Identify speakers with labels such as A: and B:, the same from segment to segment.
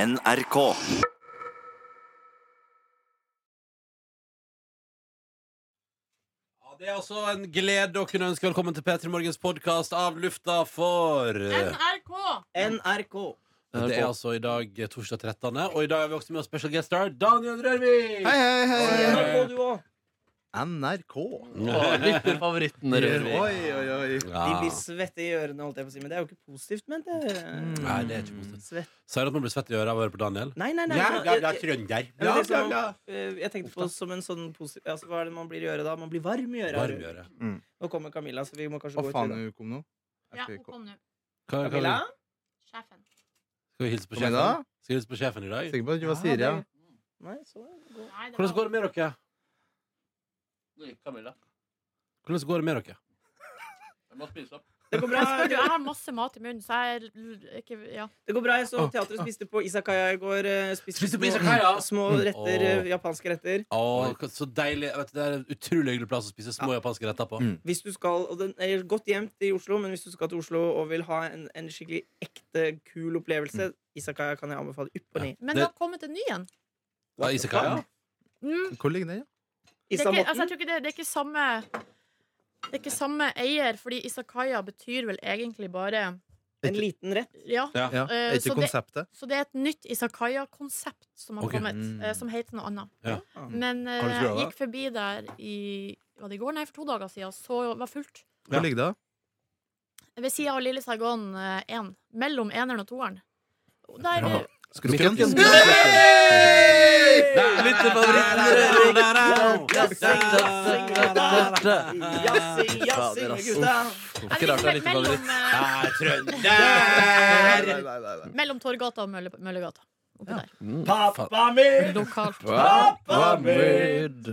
A: NRK.
B: Ja, Det er altså en glede å kunne ønske velkommen til P3 Morgens podkast av lufta for Det
C: NRK!
D: NRK.
B: er altså i dag torsdag 13., og i dag har vi også med oss special guest star Daniel Rørvik.
E: Hei, hei, hei.
D: NRK, du òg.
E: NRK.
F: Lytterfavoritten Rørvik.
E: Oi, oi, oi.
D: De
B: Ja.
D: blir svette i ørene, holdt jeg på å si. Men det er jo ikke positivt ment, det.
B: Nei, det er ikke positivt.
D: Svett.
B: Sier du at man blir svett i øret av å høre på Daniel?
D: Nei, nei, nei.
B: Ja,
D: men-
B: det er trønder.
D: Ja, men det
E: Bla,
D: er
E: bla, bla.
D: sånn- eh, Jeg tenkte på som en sånn positiv altså, Hva er det man blir i øret da? Man blir varm i øret.
B: Varm i øret.
D: Nå kommer Camilla, så vi må kanskje
E: Hva
D: gå ut.
E: faen
D: videre.
E: hun kom nå?
C: Ja,
E: Jeg
C: hun
E: fikk-
C: kom nå.
B: Hva- hva-
D: Camilla?
C: Sjefen.
B: Skal vi hilse på
E: Kom
B: sjefen?
E: igjen da.
B: Skal vi hilse på sjefen i dag?
E: Sikker på at du var
D: Ja,
E: Siri, ja?
D: det- Nei, så god.
C: Nei,
B: Hvordan
C: det var-
B: går det med dere?
F: Camilla.
B: Hvordan går det med dere?
F: Jeg må spise opp.
D: Det går
C: Jeg spør, du,
D: bra.
C: jeg har masse mat i munnen, så jeg er l- ikke Ja.
D: Det går bra. Jeg så teatret spiste på Isakaya i går. eh, Spiste,
B: Spiste på
D: små-
B: Izakaya?
D: Små
B: Mm.
D: retter,
B: Åh.
D: eh, japanske retter.
B: Å, så deilig. Vet du, det er en utrolig hyggelig plass å spise små japanske retter på.
E: Mm.
D: Hvis du skal, og den er Godt gjemt i Oslo, men hvis du skal til Oslo og vil ha en, en skikkelig ekte kul
B: Mm.
D: opplevelse, Isakaya kan jeg anbefale ypp og ned.
C: Men
B: Det-
C: det har kommet en ny en.
B: Ja, Isekaya?
C: Mm,
E: Hvor ligger den?
C: det, er
D: Isa
C: ikke, altså, jeg
D: Morten.
C: tror ikke det, det er ikke samme Det er ikke samme eier, fordi Isakaya betyr vel egentlig bare
D: En liten rett.
C: Ja.
B: Ja.
E: Ja,
C: Eh,
E: Er
C: så
E: ikke
C: det-
E: konseptet?
C: Så det er et nytt Isakaya-konsept som har
B: Ok.
C: kommet,
E: Mm.
C: eh, som heter noe annet.
B: Ja.
C: Men eh,
B: Har du
C: jeg
B: prøvd det?
C: gikk forbi der i Var det i går? Nei, for to dager siden. Så var fullt.
B: Ja.
E: Hvor ligger det?
C: Ved sida av Lille Saigon eh, 1. Mellom eneren og toeren. Og Der,
B: Bra.
E: Skrukken?
B: Skrukken.
D: Jassing, jassing, gutta.
C: jeg
F: Ikke rart
C: vet ikke,
F: det er
B: sånn
F: litt
C: mellom,
F: favoritt.
C: eh,
B: Er trønder!
E: Nei, nei, nei, nei, nei.
C: mellom Torgata og Mølle, Møllegata. Oppi der.
D: Pappa min!
C: Lokalt.
F: Pappa mid.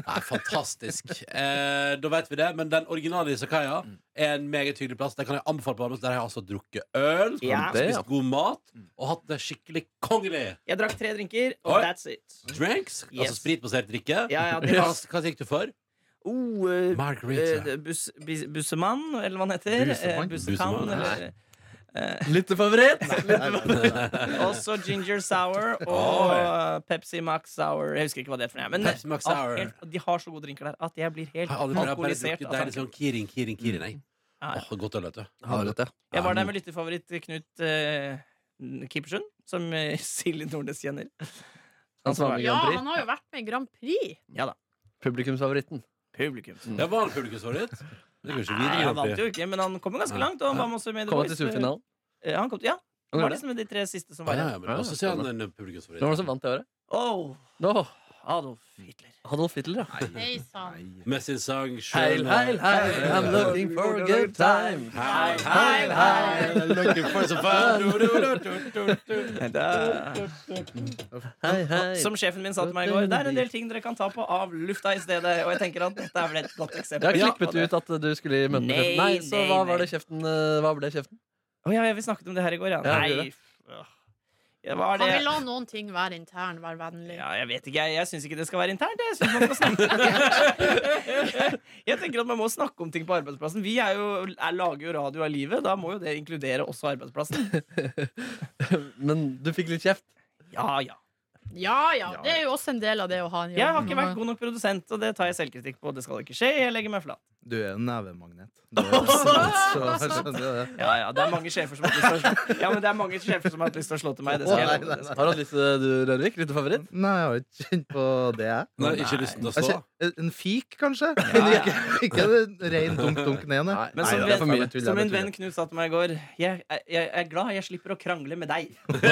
B: Nei, fantastisk. Eh, da vet vi det. Men den originale Isakaya er en meget hyggelig plass. Der kan jeg anbefale på varmest. Der har jeg altså drukket øl,
D: Ja.
B: spist god mat og hatt det skikkelig kongelig.
D: Jeg drakk tre drinker,
B: Oi.
D: og that's it.
B: Drinks, altså
D: Yes.
B: spritbasert drikke.
D: Ja, ja, det
B: Hva, hva gikk du for?
D: Oh, eh,
B: Margarita.
D: eh, bus, bis, bussemann, eller hva han heter. Eh,
E: Busemann?
D: Bussetann.
B: Busemann, nei.
D: eller-
F: Lytterfavoritt.
E: Nei, nei, nei, nei.
D: Også Ginger Sour og
B: Oi.
D: eh, Pepsi Max Sour. Jeg husker ikke hva det er for noe. Men
B: Pepsi Max Sour.
D: at Ah, helt- de har så gode drinker der at jeg blir
B: Jeg
D: helt
B: har aldri- jeg har bare
D: alkoholisert. altså. Mm.
B: drukket
D: av
B: deilig
D: tanken.
B: sånn kirin, kirin, kirin. Jeg.
D: Ja, ja.
B: Åh, godt øl, vet du.
F: Har du det?
D: Jeg var der med lytterfavoritt Knut eh, Kippersund, som eh, Silje Nordnes kjenner.
F: Han som var med i
C: Ja,
F: Grand
C: han
F: Prix.
C: har jo vært med i Grand Prix.
D: Ja da.
F: Publikumsfavoritten.
D: Publikum.
B: Det var en publikumsfavoritt. Det går ikke
D: Nei,
B: videre.
D: han vant
B: oppi.
D: jo ikke, men han kom jo ganske
B: Ja.
D: langt. Og han var med også med i The
F: Kom han
D: Voice.
F: til superfinalen?
D: Eh, Han kom til, ja,
F: Han
D: det var
F: gjorde det.
D: liksom de tre siste som
B: Ja,
D: var
B: Ah, ja,
D: igjen.
B: men også ser han en publikumsfavoritt.
F: Hvem var det som vant det året?
D: Åh,
F: Nå,
D: Adolf Hitler.
F: Adolf Hitler, ja.
C: Hei sann.
B: Med sin sang
F: Heil, heil, heil, I'm looking for a good time.
B: Heil,
D: heil, heil.
B: Looking for some fun. Du, du, du, du, du, du.
D: Da-
F: Hei, hei.
D: Eh, Som sjefen min sa til meg i går, det er en del ting dere kan ta på av lufta i stedet. Og jeg tenker at dette er vel et godt
F: Jeg
D: eksempel.
F: har klippet ut at du skulle i møte med
D: Nei,
F: kjeften. Nei, så
D: nei, nei.
F: hva var det kjeften eh, Hva ble kjeften?
D: Å ja, vi snakket om det her i går, ja.
F: Ja,
D: Nei.
F: vi gjorde
D: f- Ja, hva er
C: Han vil
D: det?
C: la noen ting være intern, være vennlig.
D: Ja, jeg vet ikke. Jeg, jeg syns ikke det skal være internt. Jeg synes man skal snakke Jeg tenker at man må snakke om ting på arbeidsplassen. Vi er jo, er, lager jo radio av livet. Da må jo det inkludere også arbeidsplassen.
F: Men du fikk litt kjeft.
D: Ja, ja.
C: Ja ja, det er jo også en del av det å ha en jobb.
D: Jeg har ikke vært god nok produsent, og det tar jeg selvkritikk på. Det skal ikke skje. Jeg legger meg flat.
E: Du er en nevemagnet. Du er så- så- så- så-
D: Ja, ja, det er mange sjefer som har hatt lyst til å, ja, men det er mange sjefer som har hatt lyst til å slå til meg. Det skal jeg love.
F: Har du hatt lyst til du, Rørvik? Litt favoritt?
E: Nei, jeg har ikke kjent på det, jeg.
B: Nei, ikke lysten til å
E: Jeg
B: stå.
E: kjen- en- En fik, kanskje? Men
D: Ja,
E: ikke, ikke en rein dunk-dunk ned. nei.
D: Men
E: Nei,
D: som
E: det er
D: ven-
E: for mye.
D: Som en venn Knut sa til meg i går, jeg, jeg, jeg er glad jeg slipper å krangle med deg. Og det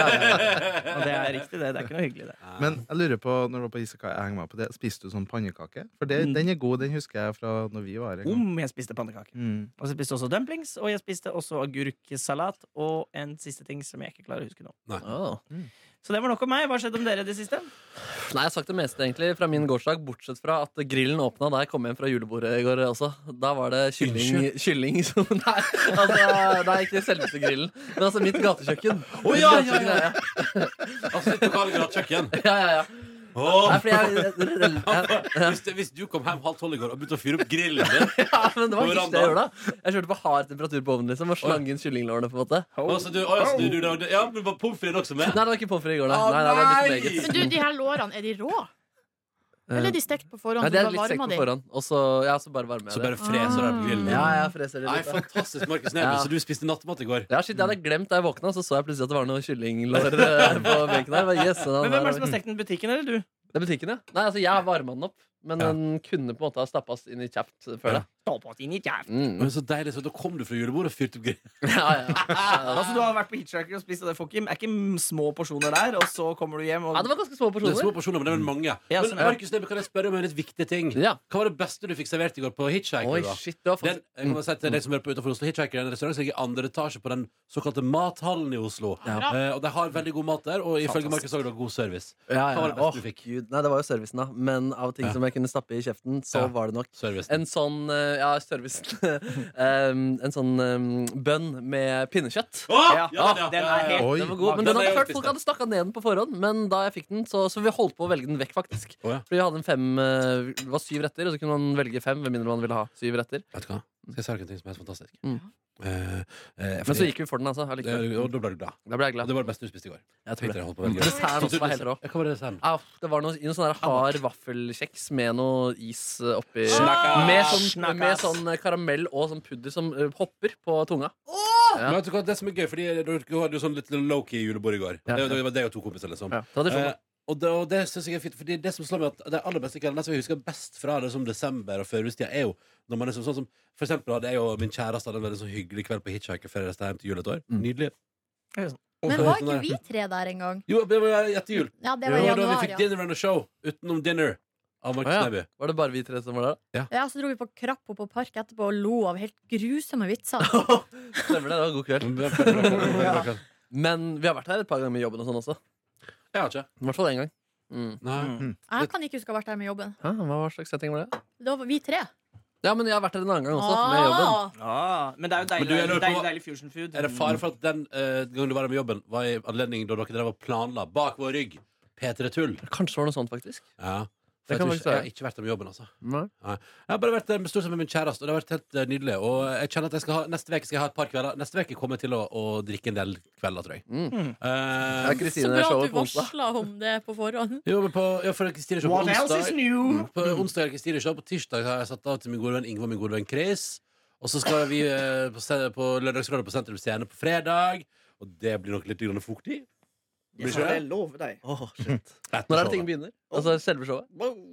D: er riktig, det. Det er ikke noe hyggelig, det.
E: Men jeg lurer på, når du var på Isekai, jeg henger meg på det Spiste du sånn pannekake? For det,
D: Mm.
E: den er god, den husker jeg fra når vi var her. en gang.
D: Om jeg spiste pannekaker.
E: Mm.
D: Og så spiste jeg også dumplings, og jeg spiste også agurksalat og en siste ting som jeg ikke klarer å huske nå.
F: Åh.
D: Så det var nok om meg. Hva har skjedd om dere i det siste?
F: Nei, jeg har sagt det meste egentlig fra min gårsdag, bortsett fra at grillen åpna da jeg kom hjem fra julebordet i går også. Da var det kylling, kylling som Nei, altså, nei, ikke selveste grillen, men altså mitt gatekjøkken.
B: Å,
F: Mitt
B: ja, ja,
F: gatekjøkken,
B: Altså, sitter på Karl Gratt kjøkken.
F: ja, ja, ja.
B: Åh!
F: Nei, fordi jeg, jeg, jeg,
B: Hvis, det, hvis du kom hjem halv tolv i går og begynte å fyre opp grillen din
F: ja, men det var
B: På
F: ikke det jeg gjorde. da. Jeg kjørte på hard temperatur på ovnen liksom, og slang inn kyllinglårene. på en måte
B: og så altså, du, åja, så du, du, lagde- Ja, men var pommes frites også
F: Nei,
B: med?
F: det var ikke pommes frites i går, da.
B: Å,
F: Nei, nei, det var
B: nei!
F: litt meget. Eh,
C: Men du, de her lårene, er de rå? Eller er de stekt på forhånd?
F: Nei,
C: så du
F: det er
C: bare
F: litt sekt
C: varmer
F: på
C: de?
F: forhånd. Og så ja, så bare varmer
B: Så
F: jeg
B: bare
F: det.
B: freser du på grillen
F: Ja,
B: din?
F: jeg freser det
B: Nei,
F: litt. da.
B: fantastisk, Markus Neby.
F: Ja.
B: Så du spiste nattmat i går?
F: Ja, shit, Jeg
B: Mm.
F: hadde glemt da jeg våkna, så så jeg plutselig at det var noe kyllinglår eh, på benken her. Jeg bare, Yes, den
D: Men hvem
F: der
D: er det
F: har-
D: som har stekt den? Butikken eller du?
F: Det er butikken, ja. Nei, altså, jeg har varma den opp, men
B: Ja.
F: den kunne på en måte ha stappes inn i kjapt før det. Mm.
B: Men så deilig, så da kom du fra julebordet og fyrte opp grillen.
F: Ja, ja.
D: Altså, du har vært på hitchhiker og spist av det fucking Er ikke m- små porsjoner der, og så kommer du hjem og
F: ja, det var ganske små
B: Det er små
F: porsjoner.
B: porsjoner, men det er vel mange.
D: Ja, så-
B: Men Markus Neby, kan jeg spørre om en litt viktig ting?
F: sånn, Ja.
B: Hva var det beste du fikk servert i går på Hitchhiker?
F: Oi,
B: da?
F: shit, Mm. det var
B: Den,
F: faktisk
B: jeg kan si til deg som hører på utenfor Oslo Hitchhiker er en restaurant som ligger i andre etasje på den såkalte mathallen i Oslo.
F: Ja.
B: Eh, og de har veldig god mat der, og ifølge Markus
D: Fantastisk.
B: har de god service.
F: ja,
B: Hva var det beste du fikk?
F: Gud. Nei, det var jo servicen, da. Men av ting
B: Ja.
F: som jeg kunne stappe i kjeften, så
B: Ja.
F: var det nok
B: Service.
F: en sånn eh, Ja, servicen. um, en sånn um, bønn med pinnekjøtt.
B: Åh!
D: Ja, den er helt-
E: Oi.
F: Den var god, men
B: Ja,
F: den
B: det
F: hadde
B: er jo
F: hørt Folk hadde snakka ned den på forhånd, men da jeg fikk den, så, så vi holdt på å velge den vekk, faktisk.
B: Å, ja.
F: Fordi vi hadde en fem eh, Det var syv retter, og så kunne man velge fem, med mindre man ville ha syv retter.
B: Vet du hva? Skal jeg si dere en ting som er helt fantastisk?
F: Mm.
B: Eh, eh,
F: Men så
B: fordi-
F: gikk vi for den, altså. Allikevel.
B: Eh, Og da ble du glad.
F: Da ble jeg
B: Og
F: glad.
B: det var det beste du spiste i går.
F: Jeg tror
B: Tenkte
F: det.
B: jeg holdt på å velge.
F: Desserten også var helt rå.
B: Hva var det desserten?
F: Au, det var noe, noe sånn der hard vaffelkjeks med noe is eh, oppi
D: Snakkas.
F: med, sånn,
D: Snakkas.
F: med sånn karamell og sånn pudder som eh, hopper på tunga. Ja.
B: Men vet du hva, det som er gøy, fordi du hadde jo sånn litt low-key julebord i går.
F: Ja.
B: Det, det var deg og to kompiser, liksom.
F: Tradisjon.
B: Eh, og det, og det synes jeg er fint, fordi det som slår meg at det aller beste kvelden, det som jeg husker best fra liksom, desember og førjulstida, er jo når man er sånn, sånn som For eksempel hadde jeg og min kjæreste hadde en veldig sånn hyggelig kveld på hitchhiker før jeg reiste hjem til jul et år.
F: Mm.
B: Nydelig.
A: Men var ikke vi tre der engang?
B: sånn Jo, det var etter jul.
A: Ja, det
B: Det
A: var i
B: var da vi
A: januar,
B: fikk
A: ja.
B: dinner and a show utenom dinner av Markus
F: Å, ja.
B: Neby.
F: Var det bare vi tre som var der?
A: ja. Så dro vi på Krappo på Park etterpå og lo av helt grusomme vitser.
F: Stemmer det. Det var god kveld. Men vi har vært her et par ganger med jobben og sånn også.
B: Jeg har ikke.
F: I hvert fall én gang. Mm.
B: Nei.
A: Jeg kan ikke huske å ha vært der med jobben.
F: Hæ, hva slags setting var det?
A: Det var vi tre.
F: Ja, men jeg har vært her en annen gang også, med jobben.
A: Ah,
D: Ah, men det er jo
B: Men
D: deilig,
B: du, jeg lurer
D: deilig,
B: på-
D: deilig, fusion food.
B: Er det
F: Mm.
B: fare for at den eh, gangen du var der med jobben, var i anledning da dere drev og planla bak vår rygg? P3 Tull.
F: Kanskje det var noe sånt, faktisk.
B: Ja. For
F: Det
B: jeg,
F: kan
B: tror
F: faktisk
B: ikke, jeg har
F: være.
B: ikke vært der med jobben, altså.
F: Nei.
B: Jeg har bare vært der med stort sett med min kjæreste, og det har vært helt eh, nydelig. Og jeg kjenner at jeg skal ha, Neste uke skal jeg ha et par kvelder. Neste uke kommer jeg til å, å drikke en del kvelder, tror jeg.
F: Mm.
B: Eh,
F: Det er
C: Så
F: Kristine
C: bra at
F: showet
C: du
F: på onsdag.
C: varsla om det på forhånd.
B: jo, men på, ja, for Kristine Show på
D: What else is
B: onsdag Mm.
D: new?
B: På onsdag er det Kristine Show, på tirsdag har jeg satt av til min gode venn Ingve og min gode venn Chris. Og så skal vi eh, på, se- på Lørdagsrådet på Sentrum Scene på fredag. Og det blir nok litt grann fuktig. Blir ikke det?
D: lover deg.
F: Åh, shit.
B: Etter
F: Når er det
B: showet.
F: ting begynner? Altså selve showet?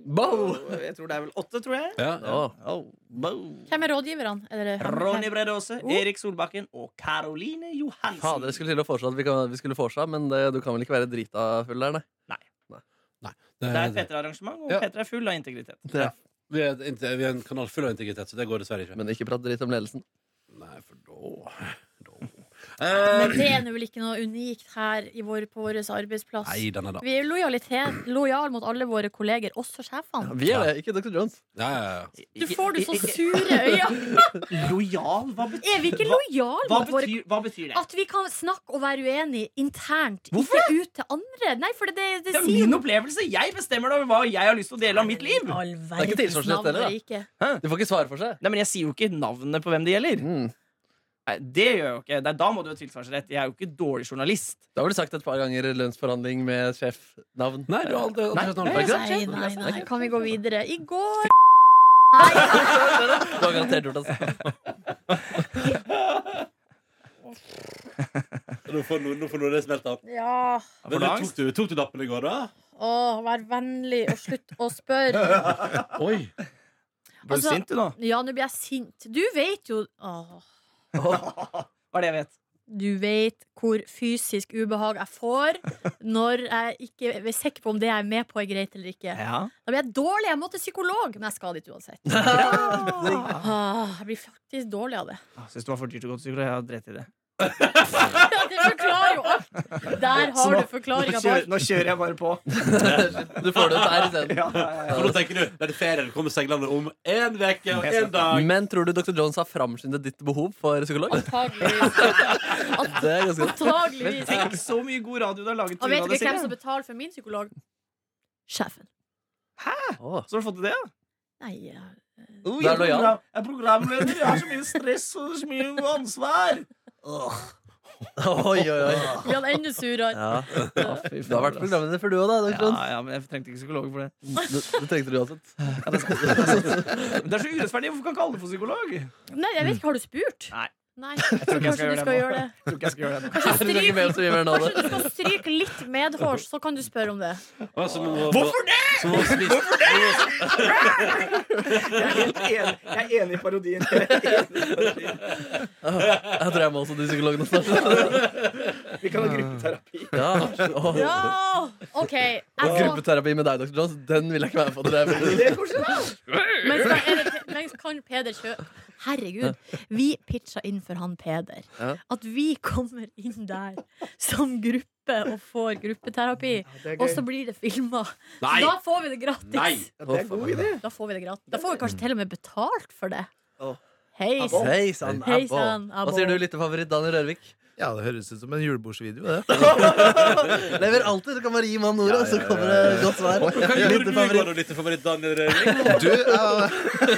F: Bow.
D: Jeg tror det er vel åtte, tror jeg.
B: Ja, ja.
F: Åh.
C: Hvem er rådgiverne? Er det
D: Ronny Bredåse,
C: Oh.
D: Erik Solbakken og Caroline
F: Fader,
D: Johansen.
F: jeg skulle til å foreslå at vi, kan, vi skulle foreslå, men det, du kan vel ikke være drita full der, nei?
B: Det,
D: Det er et P3-arrangement, og
B: Ja.
D: P3 er full av integritet.
F: Ja.
B: vi, er, et inte- vi er en kanal full av integritet, så det går dessverre ikke.
F: Men ikke prat dritt om ledelsen.
B: Nei, for da, da.
C: Men det er nå vel ikke noe unikt her i vår, på vår arbeidsplass.
B: Nei, den er da.
C: Vi er lojalitet, lojal mot alle våre kolleger, også sjefene.
F: Vi er det, ikke Dr. Jones.
B: Ja, ja, ja.
C: Du får du så sure øyne!
D: Lojal? Hva betyr
C: Er vi ikke lojale
D: hva
C: mot våre
D: betyr, hva betyr det?
C: At vi kan snakke og være uenige internt, ikke ut til andre. Nei, for det, det,
D: Det er
C: sier
D: min opplevelse. Jeg bestemmer da hva jeg har lyst til å dele av mitt liv.
C: All
F: er ikke
C: verdens
F: tilsvarsrett
C: navn
F: heller, da.
C: og rike.
F: Du får ikke svare for seg.
D: Nei, men Jeg sier jo ikke navnet på hvem det gjelder.
F: Mm.
D: Nei, Det gjør jeg jo ikke. Nei, da må du ha tilsvarsrett. Jeg er jo ikke dårlig journalist.
F: Da har du sagt et par ganger lønnsforhandling med sjefnavn.
B: Nei, du har aldri, aldri hørt navnet på
F: Nei,
B: ikke sant?
C: Nei, nei, nei. Kan vi gå videre? I går
F: Du har garantert gjort det. altså.
B: Nå får noe, nå får noe det smelte av.
C: Ja.
B: Men
D: du
B: du,
D: angst?
B: tok, du, tok du dappen i går, da?
C: Å, vær vennlig og slutt å spørre.
B: Oi.
D: Ble du
C: Altså-
D: sint, du, nå?
C: Ja, nå blir jeg sint. Du vet jo Åh.
D: Hva er det jeg vet?
C: Du vet hvor fysisk ubehag jeg får når jeg ikke er sikker på om det jeg er med på, er greit eller ikke.
D: Ja.
C: Da blir jeg dårlig. Jeg må til psykolog. Men jeg skal dit uansett. Ah, jeg blir faktisk dårlig av det.
D: Syns Ah, det var for dyrt å gå til psykolog. Jeg har drept i det.
C: Det forklarer jo alt. Der
D: Så
C: har
D: nå-
C: du
D: nå,
C: forklaringa på
D: kjører,
C: alt.
D: nå kjører jeg bare på.
F: Du får det ut der isteden.
D: Ja, ja, ja.
B: For nå tenker du den ferien kommer seilende om én uke og én dag.
F: Men tror du Dr. Jones har framskyndet ditt behov for psykolog?
C: Antageligvis.
F: Det er ganske godt.
D: Men
C: Antageligvis.
D: tenk så mye god radio du har laget.
C: Og vet
D: pga. det
C: dere hvem
D: selv.
C: som betaler for min psykolog? sjefen.
F: Åh.
D: Så har du fått til det, ja?
C: Nei, ja.
F: Du er lojal.
D: Oh, Jeg er programleder, jeg har så mye stress og så mye ansvar.
F: Oi, oi, oi.
C: Blir han enda surere?
F: Ja. Du har vært programleder før, du òg, da. Dag
D: altså. Ja,
F: Trond.
D: ja, men jeg trengte ikke psykolog for det.
F: Det, det trengte du uansett.
D: Men det er så urettferdig. Hvorfor kan ikke alle få psykolog? Jeg
C: Nei, jeg vet ikke, har du spurt?
D: Nei.
C: Nei, jeg
D: tror ikke jeg
C: Kanskje
D: skal
C: du skal gjøre det.
D: tror ikke jeg skal gjøre det.
C: Kanskje
F: Du kan ikke
C: stryk,
F: melde så mye mer nå.
C: kanskje
F: da.
C: du skal stryke litt medhårs, så kan du spørre om det.
B: Hvorfor det?! Hvorfor det?!
D: Jeg er helt enig, jeg er enig i parodien. Jeg er enig i parodien.
F: Jeg tror jeg må også til psykologen snart.
D: Vi kan ha gruppeterapi.
F: Ja. Åh.
C: Ja! OK. Jeg
F: Og
C: får,
F: Gruppeterapi med deg, Dr. Jones, den vil jeg ikke være med på. Det er-
D: Det er koselig, da.
C: men, skal, er det, men kan Peder kjø... Herregud. Vi pitcha inn for han Peder.
F: Ja.
C: At vi kommer inn der som gruppe og får gruppeterapi.
D: Det er
C: Og så
D: gøy.
C: blir det filma.
B: Nei!
C: Da får vi det gratis.
B: Nei!
D: Ja, det er en god idé.
C: Da får vi det gratis. Da får vi kanskje til og med betalt for det.
F: Åh.
C: Hei
D: Abo.
C: sann.
F: Hei sann,
C: Hei,
F: Abbo.
C: sann, Abbo.
F: Hva sier du, lyttefavoritt Daniel Rørvik?
E: Ja, det høres ut som en julebordsvideo, det.
F: Lever alltid. Du kan bare gi mannen ordet, så kommer det godt svar.
B: Hva gjorde du i
F: Lyttefavoritt.
B: går, lyttefavoritt Daniel Røvik?
E: Du, ja.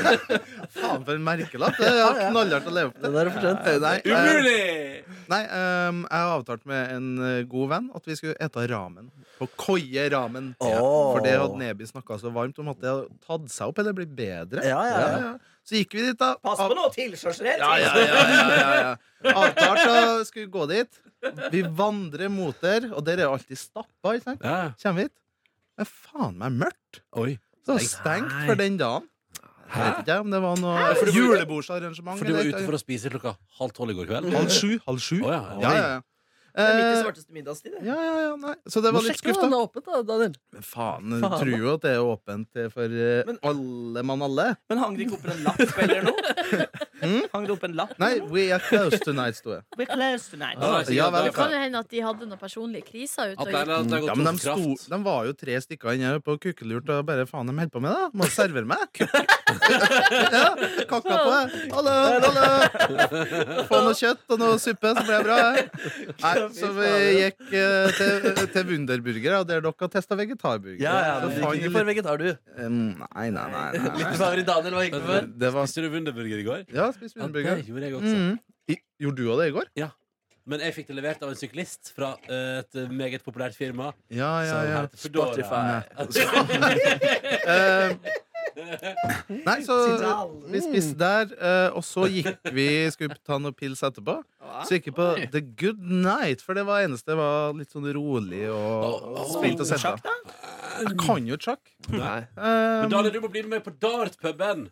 E: Faen, for en merkelapp. Det er knallhardt å leve opp til.
F: Den er det for sent.
E: Nei, eh,
B: Umulig!
E: nei ehm, jeg har avtalt med en eh, god venn at vi skulle ete ramen. På Koie ramen.
F: Åh.
E: For det hadde Neby snakka så varmt om at det hadde tatt seg opp, eller blitt bedre.
F: Ja, ja, ja.
E: Så gikk vi dit, da.
D: Pass
E: Av-
D: på nå, tilkjørsel.
E: Ja, ja, ja, ja, ja, ja. Avtalt å skulle gå dit. Vi vandrer mot der, og der er jo alltid stappa. ikke sant?
B: Ja.
E: Kommer hit. Det er faen meg mørkt.
B: Oi.
E: Så det var stengt for den dagen. Jeg vet ikke om det var
B: Hæ? For
E: noe
B: du-
E: julebordsarrangement.
B: For du var
E: eller-
B: ute for å spise klokka halv tolv i går kveld?
E: Halv sju. Halv sju.
B: Å, ja.
E: Ja, ja, ja.
D: Det er midt i
E: Eh,
D: svarteste middagstid. det.
E: ja, ja, ja, nei. Så det var litt
F: Sjekk om
E: skuffa.
F: den er åpent, da, Daniel.
E: Men faen, du
F: Faen.
E: tror jo at det er åpent eh, for eh,
D: Men-
E: alle mann alle.
D: Men hang det ikke opp en lapp eller noe?
E: Mm?
D: Hang det opp en lapp?
E: Nei, We Are Close Tonight, sto det.
D: We're close tonight.
B: Ja, det er
E: Ja,
B: sikkert
E: vel.
B: at
C: Kan
B: det-
C: jo hende at de hadde noen personlige kriser
B: at
C: ute og
B: det er-
C: gikk.
B: at det er
E: Ja,
B: gått
E: men
B: tom
E: de, sto,
B: kraft.
E: de var jo tre stykker inne her på kukkelurt og bare faen, de holder på med det. Må servere meg. ja, kakka på det. Hallo, hallo. Få noe kjøtt og noe suppe, så blir det bra. jeg. Nei, så vi gikk eh, til, til Wunderburger, og der dere har testa vegetarburger.
F: Ja, ja,
E: Så
F: men du
E: fant
F: gikk ikke
E: vi
F: for
E: litt-
F: vegetar, du.
E: Em, Nei, nei, nei. nei, nei.
F: Lyttefavoritt Daniel, hva gikk du for?
E: Det var
B: Spiste du Wunderburger i går?
E: Ja, spis
B: Ja, det
E: Wunderburger.
B: gjorde jeg også.
E: Mm. I- Gjorde du òg det i går?
B: Men jeg fikk det levert av en syklist fra eh, et meget populært firma.
E: Ja, ja,
B: som
E: ja.
B: heter Foodora.
E: Eh, nei, så vi spiste der, eh, og så gikk vi Skulle ta noen pils etterpå. Så gikk vi på The Good Night, for det var eneste var litt sånn rolig og spilt og sett.
D: da?
E: Jeg kan jo sjakk.
F: Nei.
B: Men
E: Eh,
B: Daniel, du må bli med meg på dartpuben!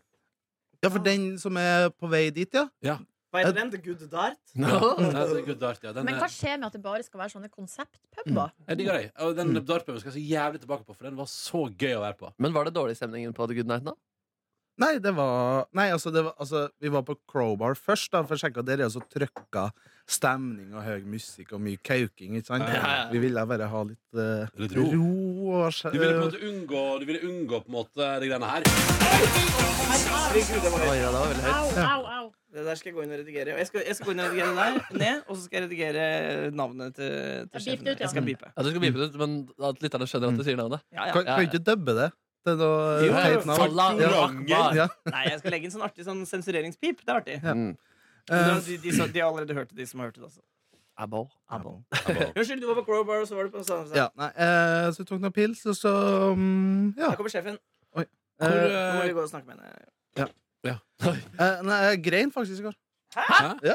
E: ja, for den som er på vei dit, ja.
D: Hva heter den? The Good
E: Mm.
D: Dart?
B: Ja, det er Altså, good dart, ja. Den
C: Men
B: er-
C: hva skjer med at det bare skal være sånne konseptpuber?
B: Jeg digger deg. Og den dartpuben skal jeg så jævlig tilbake på, for den var så gøy å være på.
F: Men var det dårlig stemningen på The Good Night nå?
E: Nei, det var Nei, altså, det var, altså vi var på Crowbar først, da, for å sjekke at dere også trøkka stemning og høy musikk og mye kauking, ikke sant?
D: ja, ja.
E: Vi ville bare ha litt eh,
B: Litt ro.
E: ro. og skje-
B: Du ville på en måte unngå, du ville unngå på en måte de greiene her.
D: Herregud, det var
F: Oi, ja, det var veldig høyt.
C: Au, au, au.
D: Det der skal jeg gå inn og redigere. Og jeg skal, jeg skal gå inn og redigere det der ned, og så skal jeg redigere navnet til, til
C: Ja, beep
D: sjefen.
C: det ut, ja.
D: Jeg skal beepe.
F: Ja, du skal bipe det ut, men at lytterne skjønner at du sier navnet.
D: Ja,
E: Kan,
D: ja.
E: kan vi ikke dubbe det? Det er
D: Jo,
E: noe teit navn.
F: Falla Akbar.
E: Ja.
D: Nei, jeg skal legge inn sånn artig sånn sensureringspip. Det er artig.
E: Ja.
F: Mm.
D: Men
E: Eh,
D: De, de, som- de har allerede hørt det, de som har hørt det. Altså.
F: Abbo.
D: Abo. Unnskyld, du var på Crowbar, og så var du på en sånn
E: ja, nei, eh, så vi tok noen pils, og så mm, Ja.
D: Her kommer sjefen.
B: Hvor,
E: Eh,
D: Nå må
B: eh,
D: vi gå og snakke med henne.
E: eh, nei, jeg grein faktisk i går.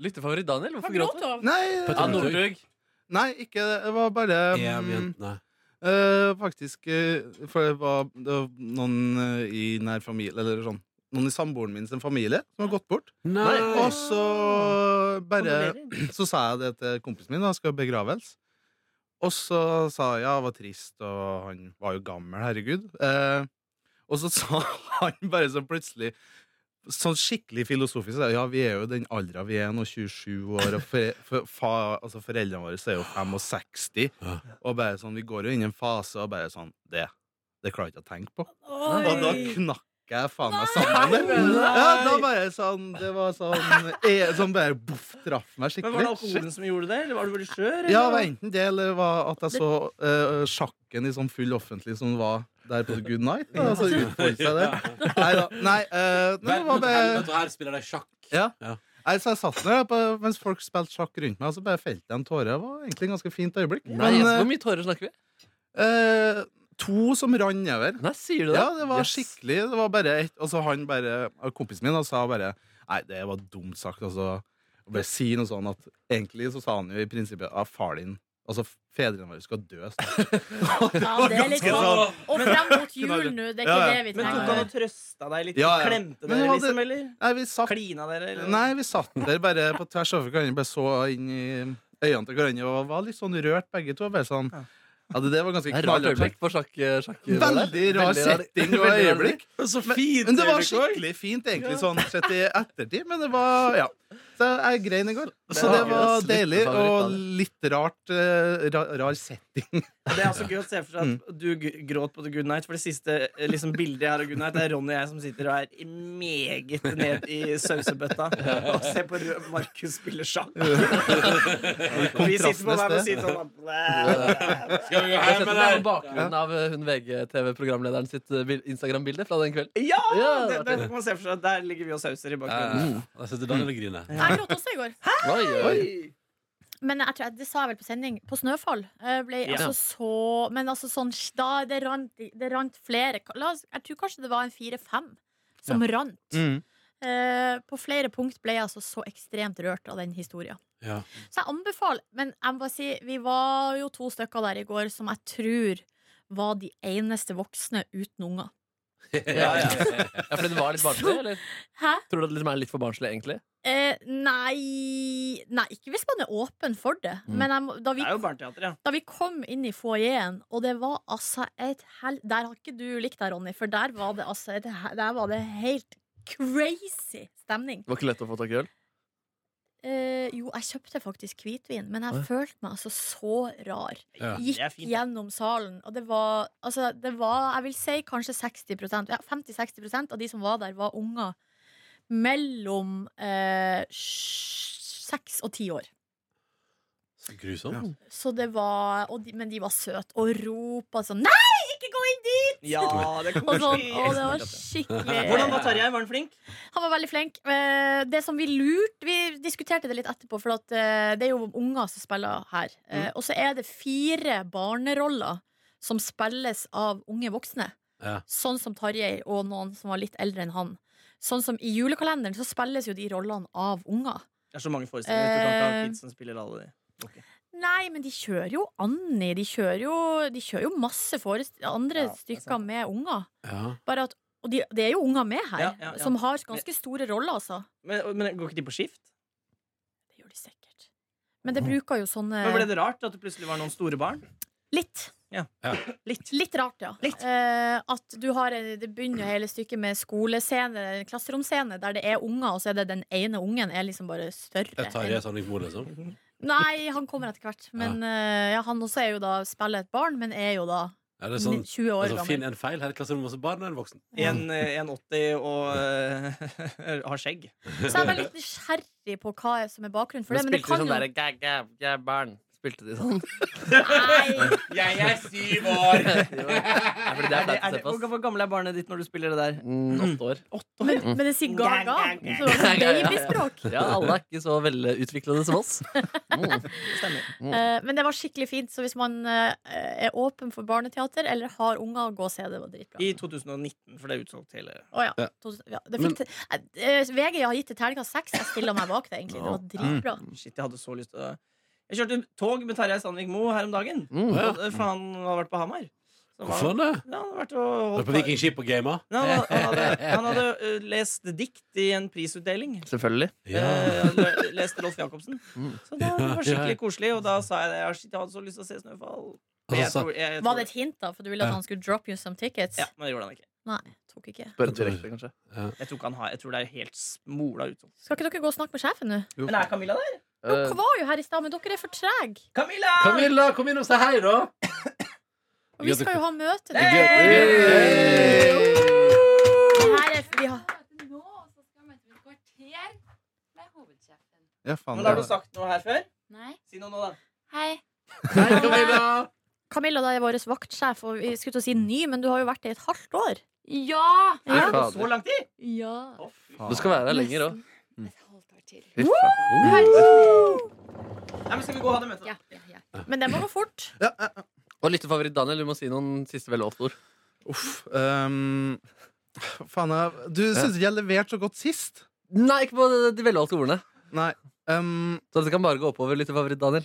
F: Lyttefavoritt Daniel,
C: Har
F: hvorfor
C: du
F: gråt
C: grått
F: du?
C: av?
E: Nei, eh,
F: Ja,
B: Petter-
F: Northug.
E: nei ikke det. Det var bare
B: Ev
E: mm,
B: jentene.
E: Eh, faktisk, eh, for det var, det var noen eh, i nær familie Eller sånn Noen i samboeren min sin familie som har gått bort.
B: Nei.
E: Og så bare Så sa jeg det til kompisen min, da skal begraves. Og så sa jeg ja, det var trist, og han var jo gammel, herregud. Eh, og så sa han bare så plutselig Sånn skikkelig filosofisk sa jeg, Ja, vi er jo den aldra vi er nå, 27 år, og fore, for, fa, altså foreldrene våre er jo 65.
B: Ja.
E: Og bare sånn, vi går jo inn i en fase og bare sånn Det, det klarer jeg ikke å tenke på.
C: Oi.
E: Og da knakk brekka jeg faen meg sammen. der. Ja, da var jeg sånn Det var sånn eh, Sånn bare boff, traff
D: Men Var
E: meg
D: det
E: skikkelig.
D: alkoholen som gjorde det, eller var du veldig skjør?
E: Ja, det
D: eller?
E: var enten det, eller det var at jeg så eh, sjakken i sånn full offentlig som var der på Good Night. Da, så utfoldet seg det. Nei da. Nei, eh, nei, det var bare
B: Vet du, her spiller de sjakk.
E: Ja.
B: Ja.
E: Nei, så jeg satt der på, mens folk spilte sjakk rundt meg, og så bare felte jeg en tåre. Det var egentlig et ganske fint øyeblikk.
F: Nei, altså,
E: Men
F: Hvor mye tårer snakker vi?
E: eh, eh, to som rann nedover.
F: Nei, sier du det?
E: Ja, det var
F: Yes.
E: skikkelig. Det var bare et, og så han bare, kompisen min da, sa bare Nei, det var dumt sagt. Altså, og bare si noe sånn at Egentlig så sa han jo i prinsippet at far din Altså, fedrene våre skal dø snart.
C: Ja, det er litt sånn. Og frem mot jul nå, det er ikke
E: Ja, ja.
C: det vi
D: Men tok
C: trenger.
D: han og trøsta deg litt?
E: Ja, ja.
D: Klemte
E: Men
D: dere,
E: hadde-
D: liksom? Eller
E: Nei, vi satt,
D: klina dere? Eller?
E: nei, vi satt der bare på tvers over hverandre, bare så inn i øynene til hverandre og var litt sånn rørt, begge to. Bare sånn Ja, det, det var ganske
F: Det er et rart
E: knallhardt.
F: øyeblikk på sjakk. eh, sjakk
E: Veldig rar setting og
F: veldig rar-
E: øyeblikk.
B: Så fint!
E: Men det var skikkelig fint, egentlig, sånn sett i ettertid. Men det var Ja. Så jeg grein i går. Så det var deilig, og litt rart eh, ra- rar setting.
D: Det er også gøy å se for seg
E: Mm.
D: at du g- gråt på The Good Night. For det siste eh, liksom, bildet jeg har av Good Night, det er Ronny og jeg som sitter og er i meget ned i sausebøtta og ser på rød Markus spille sjakk. Vi sitter på hver vår side sånn og blæ.
B: Skal vi gå
F: Eh, Jeg har
B: hjem,
F: sett det
B: eller?
F: på bakgrunnen av eh, hun VGTV-programlederen sitt eh, bil- Instagram-bilde fra den kvelden.
D: Ja!
F: Ja,
D: Det,
F: det
D: det kan man se for seg. Der ligger vi og sauser i bakgrunnen.
B: Eh, Jeg sitter Daniel og griner.
C: Jeg gråt også i går.
F: Mm. Oi, oi.
C: Men jeg tror, jeg- det sa jeg vel på sending. På Snøfall eh, ble jeg
D: Ja.
C: altså så Men altså sånn da, det, rant, det rant flere La oss, Jeg tror kanskje det var en fire-fem som rant.
E: Mm.
C: Eh, på flere punkt ble jeg altså så ekstremt rørt av den historien.
B: Ja.
C: Så jeg anbefaler Men jeg må bare si, vi var jo to stykker der i går som jeg tror var de eneste voksne uten unger.
F: Ja, ja. ja, fordi det var litt barnslig, eller?
C: Hæ?
F: Tror du det liksom er litt for barnslig, egentlig?
C: Eh, nei Nei, ikke hvis man er åpen for det.
F: Mm.
C: Men jeg, må- da, vi,
D: Det er jo barneteater, ja.
C: da vi kom inn i foajeen, og det var altså et hel... Der har ikke du likt deg, Ronny, for der var det altså et, he- Der var det helt crazy stemning.
F: Det var ikke lett å få tak i øl?
C: Eh, jo, jeg kjøpte faktisk hvitvin, men jeg
F: Oi.
C: følte meg altså så rar.
B: Ja.
D: Det er
C: Gikk
D: fint.
C: gjennom salen, og det var Altså, det var Jeg vil si kanskje 60 ja, 50-60 av de som var der, var unger mellom eh, sj- seks og ti år.
B: Så grusomt.
C: Så det var og de, Men de var søte og ropa sånn Nei, ikke gå inn dit!
D: Ja, det
C: Og,
D: kommer
C: sånn, og det
D: Hvordan
C: var
D: var
C: skikkelig
D: Tarjei? Var han flink?
C: Han var veldig flink. Eh, Det som vi lurte Vi diskuterte det litt etterpå, for at eh, det er jo unger som spiller her. Eh,
D: Mm.
C: Og så er det fire barneroller som spilles av unge voksne.
B: Ja.
C: Sånn som Tarjei og noen som var litt eldre enn han. Sånn som I julekalenderen så spilles jo de rollene av unger.
D: Det er så mange forestillinger. Du kan ikke ha
C: Eh.
D: kids som spiller alle de.
C: Nei, men de kjører jo Annie. De kjører jo, de kjører jo masse forest andre
D: Ja, det er
C: stykker
D: sant.
C: med unger.
B: Ja.
C: Bare at, og de, det er jo unger med her,
D: Ja, ja, ja.
C: som har ganske store roller, altså.
D: Men, men går ikke de på skift?
C: Det gjør de sikkert. Men det bruker jo sånne
D: Men Ble det rart at det plutselig var noen store barn?
C: Litt.
D: Ja.
B: Ja.
C: Litt. Litt rart, ja.
D: Litt.
C: Eh, at du har en, Det begynner jo hele stykket med skolescene, klasseromscene, der det er unger, og så er det den ene ungen er liksom bare større.
B: Jeg tar
C: enn-
B: i Sanningsmor, liksom.
C: Nei, han kommer etter hvert. Men eh, ja, han også er jo da spiller et barn, men er jo da
B: Ja, det er sånn
C: 20 år
B: altså, Finn
C: gammel.
B: en feil her i klasserommet, og så barn og en voksen.
D: En, eh, 1,80 og eh, har skjegg.
C: Så jeg er veldig nysgjerrig på hva som er bakgrunnen for det.
F: Men
C: Men det
F: spilte de
C: kan
F: sånn
C: jo
F: derre gæ, gæ, gæ, barn? Spilte de sånn?
C: Nei!
B: Jeg er syv år!
F: Ja, fordi det
D: Er det,
F: er flaut å
D: er
F: se
D: det,
F: på.
D: hvor,
F: ass.
D: hvor gammel er barnet ditt når du spiller det der?
F: Mm, Åtte år.
C: Men, men det sier ga-ga. Så det var
F: Ja, ja, ja.
C: Babyspråk.
F: Ja, alle er ikke så velutviklede som oss. Mm.
D: Stemmer.
C: Eh, Men det var skikkelig fint, så hvis man eh, er åpen for barneteater eller har unger, gå og se det. Det var dritbra.
D: I 2019, for det er utsolgt hele
C: Å ja.
B: Ja.
C: To- ja det fikk, te- eh, VG har gitt det terningkast seks. Jeg stiller meg bak det, egentlig. Det var dritbra.
D: Shit, jeg hadde så lyst til å Jeg kjørte tog med Tarjei Sandvik Mo her om dagen.
F: Mm.
D: Og, eh, for han hadde vært på Hamar. Så var
B: Hvorfor
D: han-
B: det?
D: Ja, han hadde vært og
B: Var
D: holdt
B: du på Vikingskip og gama?
D: Nei, Han, han hadde, han hadde eh, lest dikt i en prisutdeling.
F: Selvfølgelig.
B: Ja.
D: Eh, le- leste Rolf Jacobsen.
F: Mm.
D: Så det var
B: Ja.
D: skikkelig koselig, og da sa jeg det. Jeg, shit, jeg hadde så lyst til å se Snøfall. Men jeg
B: Altså,
D: tror- jeg- jeg tror-
C: Var det et hint, da? For du ville at han skulle drop you some tickets?
D: Ja, men det gjorde han ikke.
C: Nei, tok ikke.
F: Bare direkte, kanskje.
D: Jeg tror, ikke han har, jeg tror det er helt smola utsolgt.
C: Skal ikke dere gå og snakke med sjefen nå?
D: Men er Camilla der?
F: Eh,
C: Dere var jo her i stad, men dere er for trege.
D: Camilla!
B: Camilla, kom inn og si hei, da!
C: Og vi skal jo ha møte.
B: Hey!
C: Hei,
A: Ja.
G: Nå så skal jeg møte om et kvarter med hovedsjefen.
E: Ja, faen,
D: Men har du
E: det-
D: sagt noe her før?
G: Nei.
D: Si noe nå, da.
G: Hei.
C: Camilla da er vår vaktsjef, og vi skulle til å si ny, men du har jo vært det i et halvt år.
G: Ja!
E: Fy
D: Er det
E: fader.
D: så lang tid?
G: Ja.
F: Du skal være her lenger òg.
G: Et halvt år til.
E: Fy faen.
D: Nei, men skal vi gå og ha det møtet?
G: Ja, ja, ja.
C: Men det må gå fort.
F: Og lyttefavoritt Daniel, du må si noen siste velvalgte ord.
E: Uff. ehm, faen, jeg Du syns ikke jeg leverte så godt sist?
F: Nei, ikke på de- de velvalgte ordene.
E: Nei. ehm,
F: Så det kan bare gå oppover, lyttefavoritt Daniel.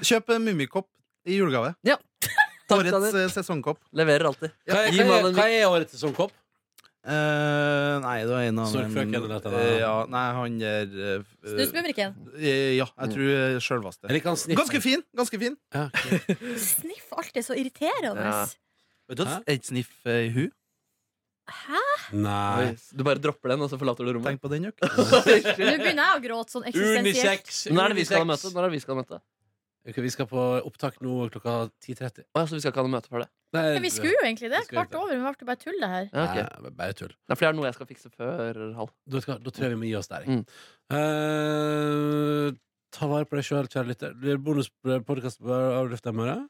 E: kjøp en mummikopp i julegave.
F: Takk,
E: Årets
F: Daniel.
E: eh, sesongkopp.
F: Leverer alltid.
B: Hva er,
F: Gi
B: hva
F: mannen
B: er,
F: min-
B: hva er årets sesongkopp?
E: Eh, nei, det var en av
B: Sorgfrøken eller dette, da?
E: Eh, ja, Nei, han der eh,
A: Snusmumrikken.
E: eh, Ja, jeg tror eh, sjølvaste.
B: Jeg liker han sniffen.
E: Ganske fin! ganske fin
B: Ja, ok.
A: Sniff alltid så irriterende.
F: Ja.
B: Hæ?
E: Et sniff eh, i hu.
B: Nei.
F: Oi, Du bare dropper den, og så forlater du rommet.
E: Tenk på den, dere.
C: Nå begynner jeg å gråte sånn eksistensielt.
B: Unisex!
F: Når er det vi skal ha
B: unisex.
F: møte? Når er det vi skal ha møte?
B: Ok, Vi skal på opptak nå klokka 10.30.
F: Å, ja, så vi skal ikke ha noe møte for det?
B: Nei,
C: Ja, vi skulle jo egentlig det.
B: Vi skulle
C: Kvart over, men vi ble bare tull, det her.
F: Ja, ok.
B: Nei, bare tull.
F: Nei, for det er noe jeg skal fikse før halv.
B: Da, skal, da tror jeg vi må gi oss der. jeg.
F: Mm.
B: Eh, ta vare på deg sjøl, kjære lytter. Blir det bonuspodkast av lufta i morgen?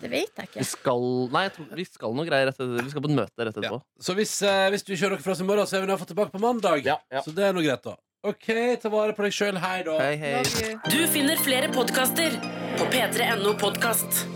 C: Det vet jeg
F: Vi
C: ikke.
F: skal Nei, jeg tror vi skal noe greier rett etterpå. Vi skal på et møte rett etterpå.
B: Så hvis, eh, hvis du kjører dere fra oss i morgen, så er vi nå fått tilbake på mandag.
F: Ja, ja.
B: Så det er noe greit, da. OK, ta vare på deg sjøl. Hei, da.
F: Hei, hei.
C: Love you.
H: Du finner flere podkaster på p3.no podkast.